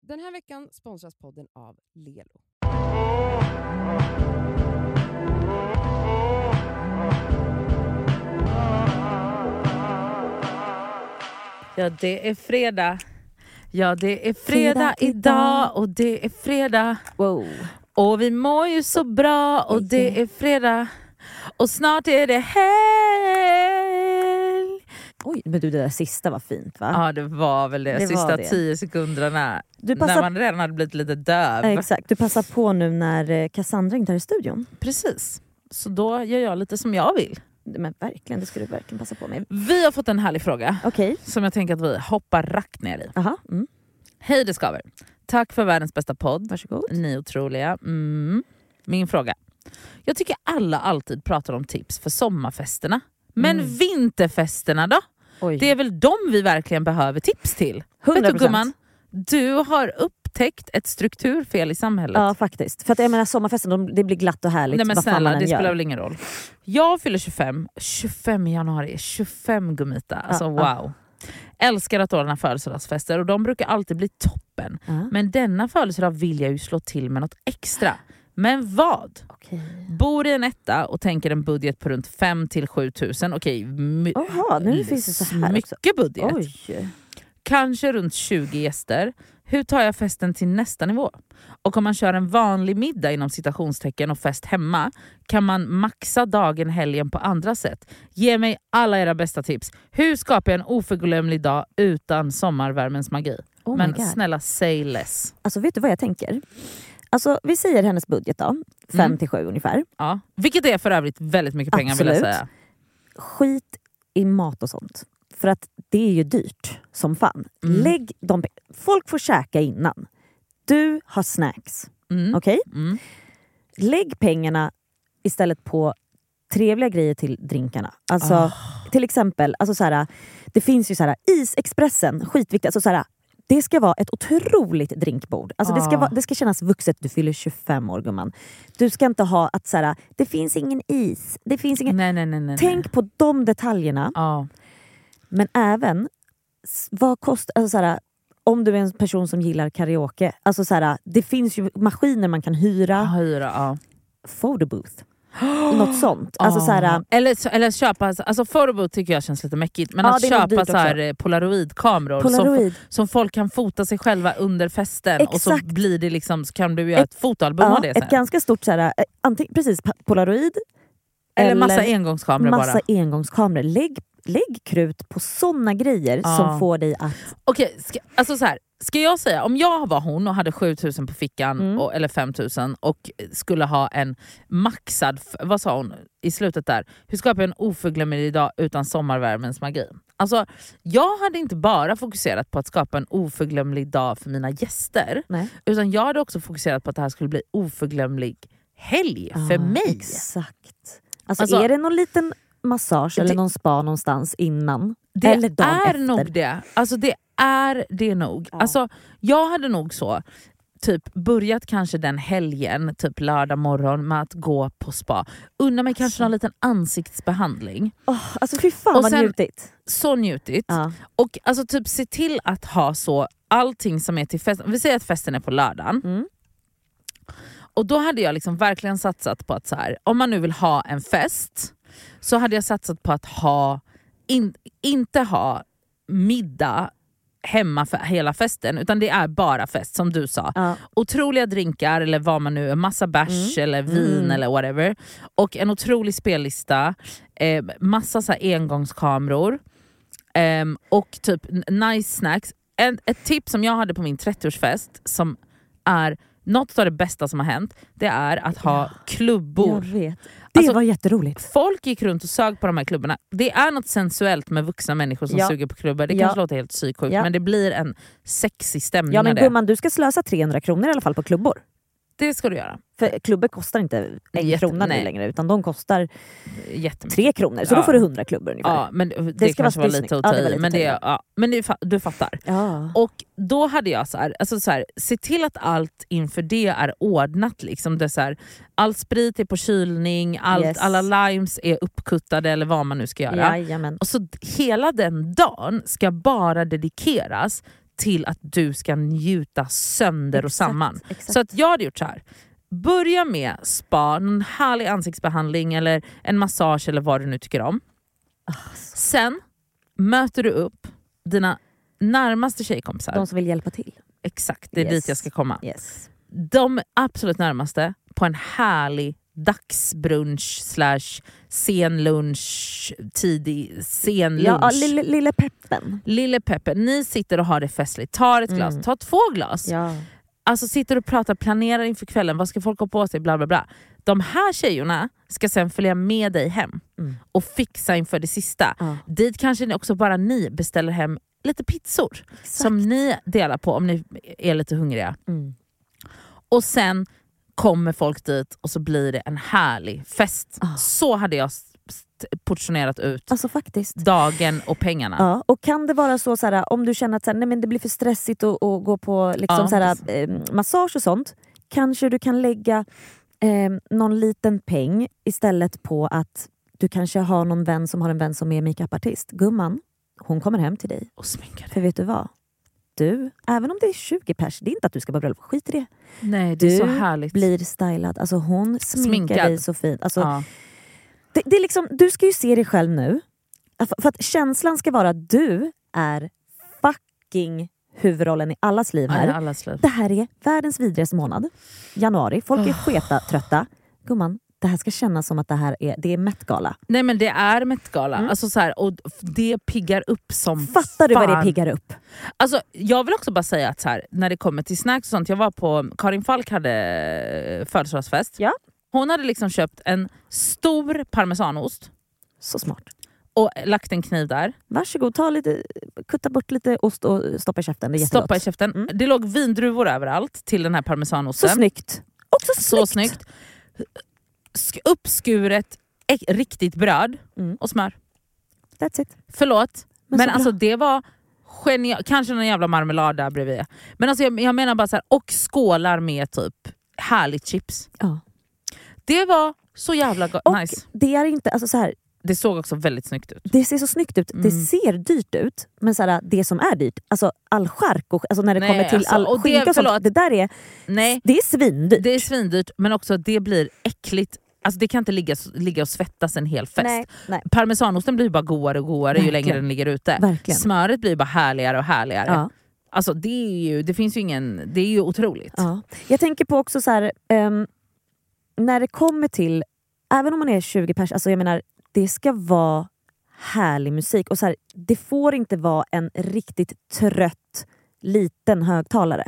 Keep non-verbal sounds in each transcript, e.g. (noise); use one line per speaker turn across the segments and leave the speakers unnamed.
Den här veckan sponsras podden av Lelo.
Ja, det är fredag. Ja, det är fredag,
Fredag
idag
idag.
och det är fredag.
Wow.
Och vi mår ju så bra och det är fredag. Och snart är det helg.
Oj, men du det där sista var fint va?
Ja, det var väl det.
Det var
Sista
det.
tio sekunderna.
Du
När
passar-
man redan hade blivit lite döv.
Exakt, du passar på nu när eh, Cassandra inte är i studion.
Precis. Så då gör jag lite som jag vill.
Men verkligen, det ska du verkligen passa på med.
Vi har fått en härlig fråga
Okej,
som jag tänker att vi hoppar rakt ner i.
aha. Mm.
Hej det skaver. Tack för världens bästa podd.
Varsågod.
Ni är otroliga. Mm. Min fråga. Jag tycker alla alltid pratar om tips för sommarfesterna. Men
Mm.
vinterfesterna då?
Oj.
Det är väl de vi verkligen behöver tips till? Vet du
100%.
gumman, du har upptäckt ett strukturfel i samhället.
Ja faktiskt. För att jag menar sommarfesten, de, det blir glatt och härligt
Nej men
vad fan
snälla,
man
det
än
spelar
gör.
väl ingen roll. Jag fyller 25, 25 i januari, 25 gummita. Alltså
Ja, ja.
wow. Älskar att ordna födelsedagsfester och de brukar alltid bli toppen.
Ja.
Men denna födelsedag vill jag ju slå till med något extra. Men vad?
Okej.
Bor i en etta och tänker en budget på runt 5 till 7 tusen. Okej, my- Mm,
Jaha, nu finns det så här också.
mycket budget.
Oj.
Kanske runt 20 gäster. Hur tar jag festen till nästa nivå? Och om man kör en vanlig middag inom citationstecken och fest hemma, kan man maxa dagen helgen på andra sätt? Ge mig alla era bästa tips. Hur skapar jag en oförglömlig dag utan sommarvärmens magi?
Oh my
Men
God.
snälla, say less.
Alltså vet du vad jag tänker? Alltså vi säger hennes budget då, 5
Mm.
till 7 ungefär.
Ja. Vilket är för övrigt väldigt mycket pengar vill jag
Absolut.
säga.
Skit i mat och sånt. För att det är ju dyrt som fan.
Mm.
Lägg de pe- Folk får käka innan. Du har snacks.
Mm.
Okej?
Mm.
Lägg pengarna istället på trevliga grejer till drinkarna. Alltså
Ah.
till exempel, alltså så här, det finns ju så här, isexpressen, skitviktigt. Alltså så här, det ska vara ett otroligt drinkbord. Alltså det, ska
Ah.
vara, det ska kännas vuxet, du fyller 25 år gumman. Du ska inte ha att så här, det finns ingen is. Det finns ingen...
Nej, nej, nej. nej. nej.
Tänk på de detaljerna.
Ja.
Men även, s- vad kostar... Alltså så här, om du är en person som gillar karaoke, alltså så här, det finns ju maskiner man kan hyra.
Ah, Hyra, ja.
Photo booth. Något sånt. Alltså så
Ja.
här,
Ah. eller, så- eller köpa, alltså Forbo tycker jag känns lite mäckigt, men
Ja,
att
det är nog
köpa
dyrt
så här, eh, polaroidkameror Som,
Polaroid.
som folk kan fota sig själva under festen och så
Exakt.
blir det liksom, så kan du göra ett, fotoalbum av det sen.
ett ganska stort så här, eh, antingen, precis, pa- polaroid
eller massa
eller
engångskameror bara.
massa engångskameror. Lägg, lägg krut på såna grejer
Ja.
som får dig att...
Okej, ska, alltså så här, ska jag säga, om jag var hon och hade 7000 på fickan,
Mm.
och, eller 5000 och skulle ha en maxad, f- vad sa hon i slutet där? Hur skapar jag en oförglömlig dag utan sommarvärmens magi? Alltså, jag hade inte bara fokuserat på att skapa en oförglömlig dag för mina gäster,
Nej.
utan jag hade också fokuserat på att det här skulle bli oförglömlig helg för
Ah,
mig.
Exakt. Alltså,
Alltså-
är det någon liten massage
Det-
eller någon spa någonstans innan?
Det
eller dagen
är
efter?
nog det. Alltså det är det nog.
Ja.
Alltså, jag hade nog så typ börjat kanske den helgen, typ lördag morgon, med att gå på spa. Unna mig kanske
Alltså.
någon liten ansiktsbehandling.
Åh, alltså fy fan
Och
vad
sen-
njutigt.
Så njutigt.
Ja.
Och alltså typ se till att ha så allting som är till festen. Vi säger att festen är på lördagen.
Mm.
Och då hade jag liksom verkligen satsat på att så här, om man nu vill ha en fest, så hade jag satsat på att ha, in, inte ha middag hemma för hela festen, utan det är bara fest som du sa.
Ja.
Otroliga drinkar eller vad man nu är, massa bärs eller vin
Mm.
eller whatever. Och en otrolig spellista, eh, massa så här engångskameror ehm, och typ n- nice snacks. En, ett tips som jag hade på min 30-årsfest som är något av det bästa som har hänt, det är att ha klubbor.
Jag vet. Det
Alltså-
var jätteroligt.
Folk gick runt och sög på de här klubborna. Det är något sensuellt med vuxna människor som
Ja.
suger på klubbor. Det
Ja.
kanske låter helt psyksjukt
Ja.
men det blir en sexig stämning
Ja
av
men
det.
gumman, du ska slösa 300 kronor i alla fall på klubbor.
Det ska du göra.
För klubbor kostar inte en
Jätte-
krona
nej.
nu längre utan de kostar
Jättemycket.
tre kronor. Så
Ja.
då får du 100 klubbor ungefär.
Ja, men det,
ska
kanske
vara
var lite
snyggt.
att
Ja,
ta
det var
i.
lite
Men, det,
att
ja, men det, fa- du fattar.
Ja.
Och då hade jag så här, alltså så här, se till att allt inför det är ordnat. Liksom det är så här, all sprit är på kylning, allt,
Yes.
alla limes är uppkuttade eller vad man nu ska göra.
Jajamän.
Och så d- hela den dagen ska bara dedikeras till att du ska njuta sönder och
Exakt,
samman.
exakt.
Så att jag hade gjort så här. Börja med spa, någon härlig ansiktsbehandling eller en massage eller vad du nu tycker om.
Alltså,
Sen möter du upp dina närmaste tjejkompisar.
de som vill hjälpa till.
Exakt, det är
Yes.
dit jag ska komma.
Yes.
De absolut närmaste på en härlig dagsbrunch slash sen lunch, tidig sen lunch.
Ja, ja, lille, lille peppen.
Lille Peppe, ni sitter och har det festligt. Ta ett glas,
Mm.
ta två glas.
Ja.
Alltså sitter och pratar, planerar inför kvällen, vad ska folk ha på sig, bla bla bla. De här tjejerna ska sen följa med dig hem
Mm.
och fixa inför det sista.
Ja.
Dit kanske ni också bara ni beställer hem lite pizzor som ni delar på om ni är lite hungriga.
Mm.
Och sen kommer folk dit och så blir det en härlig fest.
Ah.
Så hade jag st- portionerat ut
Alltså faktiskt.
dagen och pengarna.
Ja, och kan det vara så såhär, om du känner att såhär, nej, men det blir för stressigt att, att gå på liksom,
Ja,
såhär, eh, massage och sånt. Kanske du kan lägga eh, någon liten peng istället på att du kanske har någon vän som har en vän som är makeupartist. Gumman, hon kommer hem till dig.
Och sminka dig.
För vet du vad? Du, även om det är 20 pers, det är inte att du ska vara bröllop. Skit i det.
Nej, det är
Du
så härligt.
Blir stylad. Alltså hon sminkar
Sminkad.
dig så fint. Alltså,
ja.
det, det är liksom, du ska ju se dig själv nu. För, för att känslan ska vara att du är fucking huvudrollen i allas liv
Ja,
här.
i allas liv.
Det här är världens vidrigaste månad. Januari. Folk är sketa, trötta. Gumman, det här ska kännas som att det här är, det är Met-gala.
Nej men det är Met-gala,
Mm.
alltså, så här, och det piggar upp som
Fattar du vad det
fan.
piggar upp?
Alltså, jag vill också bara säga att så här, när det kommer till snacks och sånt, jag var på, um, Karin Falk hade eh, födelsedagsfest.
Ja.
Hon hade liksom köpt en stor parmesanost
Så smart.
och lagt en kniv där,
Varsågod, ta lite, kutta bort lite ost och stoppa i käften. Det är jättegott.
stoppa i käften.
Mm.
Det låg vindruvor överallt till den här
Så
parmesanosten.
snyggt. Också snyggt.
Så snyggt. Sk- uppskuret äk- riktigt bröd
Mm.
och smör.
That's it.
Förlåt,
Men
men,
så
alltså det var genialt. Kanske någon jävla marmelad där bredvid. Men alltså jag, jag menar bara så här, och skålar med typ härligt chips.
Ja.
Det var så jävla go-
Och
alltså, nice.
det är inte, alltså så här,
Det såg också väldigt snyggt ut.
Det ser så snyggt ut, det
Mm.
ser dyrt ut, men så här, det som är dyrt, alltså all chark och alltså när det
Nej,
kommer till
alltså,
all
och det-
skinka och
förlåt.
sånt, det där är,
Nej,
det är svindyrt.
det är svindyrt men också det blir äckligt. Alltså det kan inte ligga, ligga och svettas en hel fest.
Nej, nej,
Parmesanosten blir bara godare och godare ju
Verkligen.
längre den ligger ute.
verkligen.
Smöret blir bara härligare och härligare.
Ja,
Alltså det, är ju, det finns ju ingen... Det är ju otroligt.
ja. Jag tänker på också så här, ehm, när det kommer till, även om man är 20 pers, alltså jag menar, det ska vara härlig musik. Och så här, det får inte vara en riktigt trött liten högtalare.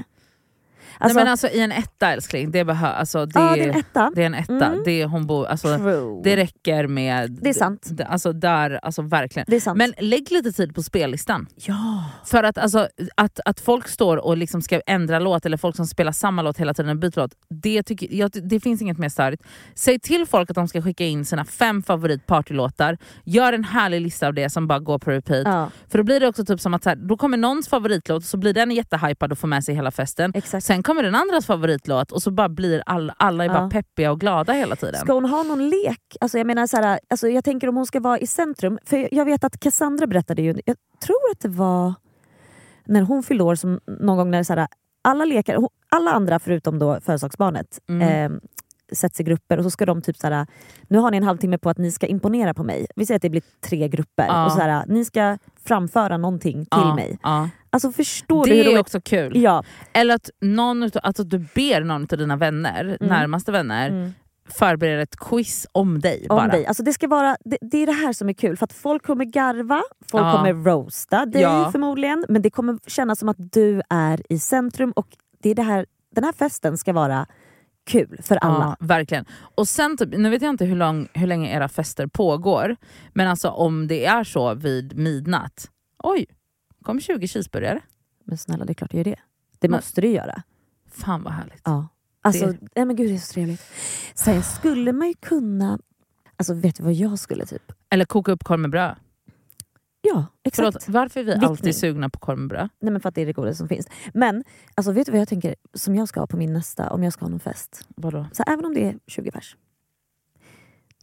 Alltså,
Nej, men alltså i en etta älskling, det, behö- alltså, det,
ja, det är
är,
en etta.
det är en etta.
Mm.
Det, är, hon bor, alltså,
True.
det räcker med...
Det är sant.
d- Alltså där, alltså verkligen.
Det är sant.
Men lägg lite tid på spellistan.
ja.
För att, alltså, att, att folk står och liksom ska ändra låt, eller folk som spelar samma låt hela tiden och byter låt, det, tycker, jag, det finns inget mer störigt. Säg till folk att de ska skicka in sina fem favoritpartylåtar, gör en härlig lista av det som bara går på repeat.
ja,
För då blir det också typ som att så här, då kommer någons favoritlåt, så blir den jättehypad och får med sig hela festen.
exakt.
Sen kommer den andras favoritlåt och så bara blir all, alla är bara
Ja.
peppiga och glada hela tiden.
Ska hon ha någon lek? Alltså jag, menar så här, alltså jag tänker om hon ska vara i centrum. För jag- Jag vet att Cassandra berättade ju, jag tror att det var när hon fyllde år, som någon gång när så här, alla lekar, hon- alla andra förutom då födelsedagsbarnet
Mm.
eh, sätts i grupper och så ska de typ så här, nu har ni en halvtimme på att ni ska imponera på mig. Vi säger att det blir tre grupper
Ja.
och så här, ni ska framföra någonting till
Ja,
mig.
ja.
Alltså förstår du hur
Det är
roligt?
också kul.
Ja.
Eller att, någon utav, alltså att du ber någon av dina vänner, närmaste vänner,
Mm.
förbereda ett quiz om dig.
Om
bara.
dig. Alltså det, ska vara, det, det är det här som är kul, för att folk kommer garva, folk
Ja.
kommer roasta dig
Ja.
förmodligen, men det kommer kännas som att du är i centrum och det är det här, den här festen ska vara kul för alla.
Ja, verkligen. Och sen, typ, nu vet jag inte hur, lång, hur länge era fester pågår, men alltså om det är så vid midnatt, oj, kom 20 cheeseburgare.
Men snälla, det är klart du gör det. Det
Men-
måste du göra.
Fan vad härligt.
Ja. Alltså,
Det-
nej men gud det är så trevligt. Sen skulle man ju kunna, alltså vet du vad jag skulle typ?
Eller koka upp korv med bröd.
Ja, exakt.
Förlåt, varför är vi
Vickning.
alltid sugna på korv med bröd?
Nej men för att det är det godaste som finns. Men, alltså vet du vad jag tänker som jag ska ha på min nästa, om jag ska ha någon fest?
Vadå?
Så även om det är 20 pers,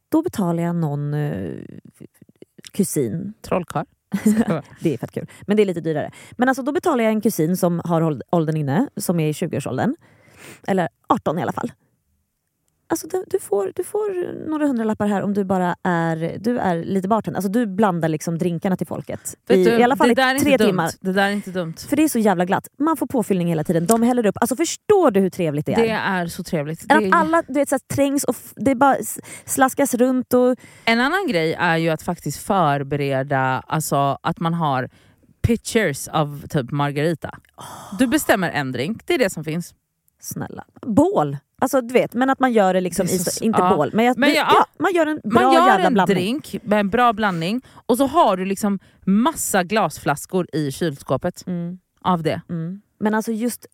då betalar jag någon eh, kusin.
Trollkarl?
Det är fett kul. Men det är lite dyrare. Men alltså, då betalar jag en kusin som har håll- åldern inne, som är i 20-årsåldern. Eller 18 i alla fall. Alltså, du, du, får, du får några hundralappar här om du bara är, du är lite bartender. Alltså, du blandar liksom drinkarna till folket.
Vet
I,
du,
I alla fall
det
i
där är
tre
inte
timmar.
Dumt. Det där är inte dumt.
För det är så jävla glatt. Man får påfyllning hela tiden. De häller upp. Alltså förstår du hur trevligt det är?
Det är så trevligt.
Än
Det
att
är-
alla du vet, så här, trängs och f- det bara s- slaskas runt och
En annan grej är ju att faktiskt förbereda, alltså att man har pictures av typ Margarita. Du bestämmer en drink, det är det som finns.
snälla. Bål! Alltså du vet, men att man gör det liksom
Det
i
är
så,
så-
inte
ja.
bål. Men, jag,
Men
du-
ja,
ja, man gör en bra
Man gör
jävla
en
blandning.
drink med en bra blandning och så har du liksom massa glasflaskor i kylskåpet
Mm,
av det.
mm. Men alltså just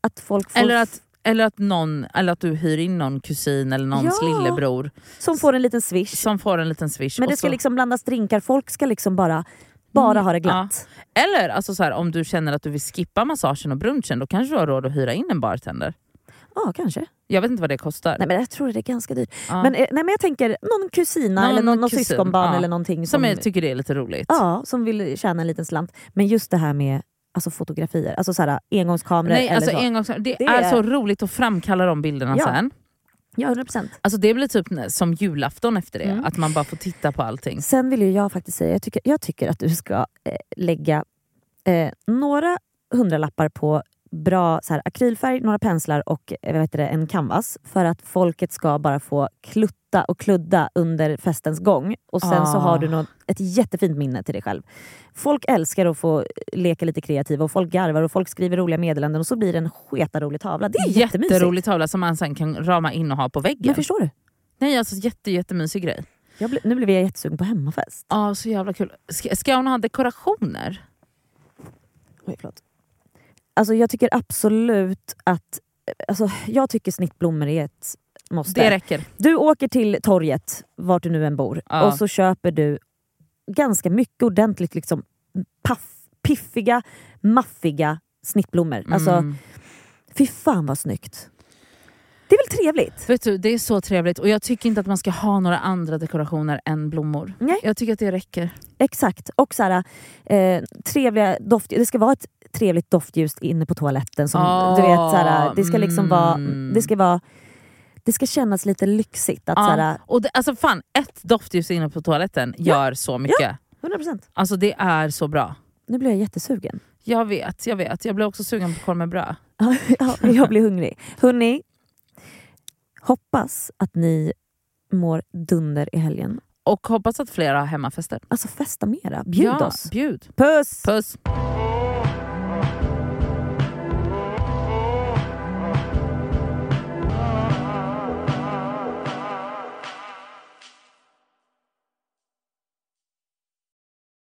att folk får,
Eller att, eller, att någon, eller att du hyr in någon kusin eller någons
Ja.
lillebror
som får en liten swish.
som får en liten swish.
Men
och
det ska
så-
liksom blandas drinkar, folk ska liksom bara, bara
Mm,
ha det glatt.
Eller alltså så här, om du känner att du vill skippa massagen och brunchen, då kanske du har råd att hyra in en bartender.
Ja, kanske.
Jag vet inte vad det kostar.
Nej men jag tror det är ganska dyrt.
Ja.
Men, eh, nej, men jag tänker någon kusina
Någon
eller någon, någon
kusin,
syskonbarn
ja.
eller någonting
Som jag tycker det är lite roligt.
Ja, som vill tjäna en liten slant. Men just det här med alltså, fotografier, alltså så här, engångskameror
Nej, alltså
eller så.
engångs- det,
Det
är
är-
så roligt att framkalla de bilderna
Ja.
sen.
Ja, 100%.
Alltså det blir typ nä- som julafton efter det,
Mm.
att man bara får titta på allting.
Sen vill ju jag faktiskt säga, jag tycker, jag tycker att du ska eh, lägga eh, några hundralappar på bra så här, akrylfärg, några penslar och eh, vad heter det, en canvas för att folket ska bara få klutta och kludda under festens gång. Och sen så
Ah.
har du något, ett jättefint minne till dig själv. Folk älskar att få eh, leka lite kreativa och folk garvar och folk skriver roliga meddelanden och så blir det en sketarolig tavla. Det är jättemysigt.
Jätterolig tavla som man sen kan rama in och ha på väggen.
Men förstår du?
Nej alltså jätte, jättemysig grej.
Jag ble, nu blev jag jättesugen på hemmafest.
Ja, så jävla kul. Ska, ska hon ha dekorationer?
Oj, förlåt. Alltså jag tycker absolut att... Alltså, jag tycker snittblommor är ett måste.
Det räcker.
Du åker till torget, vart du nu än bor,
Ja.
och så köper du ganska mycket ordentligt liksom, paff, piffiga, maffiga snittblommor. Alltså,
Mm.
fy fan vad snyggt. Det är väl trevligt?
Vet du, det är så trevligt och jag tycker inte att man ska ha några andra dekorationer än blommor.
Nej.
Jag tycker att det räcker.
Exakt. Och så här, eh, trevliga doft, det ska vara ett trevligt doftljus inne på toaletten. Som,
Ah,
du vet, så här, det ska liksom vara...
mm.
Det ska vara det ska kännas lite lyxigt. Att,
Ja,
så här,
och det, alltså fan, ett doftljus inne på toaletten gör så mycket.
100%.
Alltså det är så bra.
Nu blir jag jättesugen. (laughs)
Jag vet, jag vet. Jag blir också sugen på korv med bröd.
Ja, jag blir hungrig. Hörni, hoppas att ni mår dunder i helgen.
Och hoppas att flera har hemmafester.
Alltså festa mera. Bjud
ja,
oss.
Bjud.
Puss!
Puss!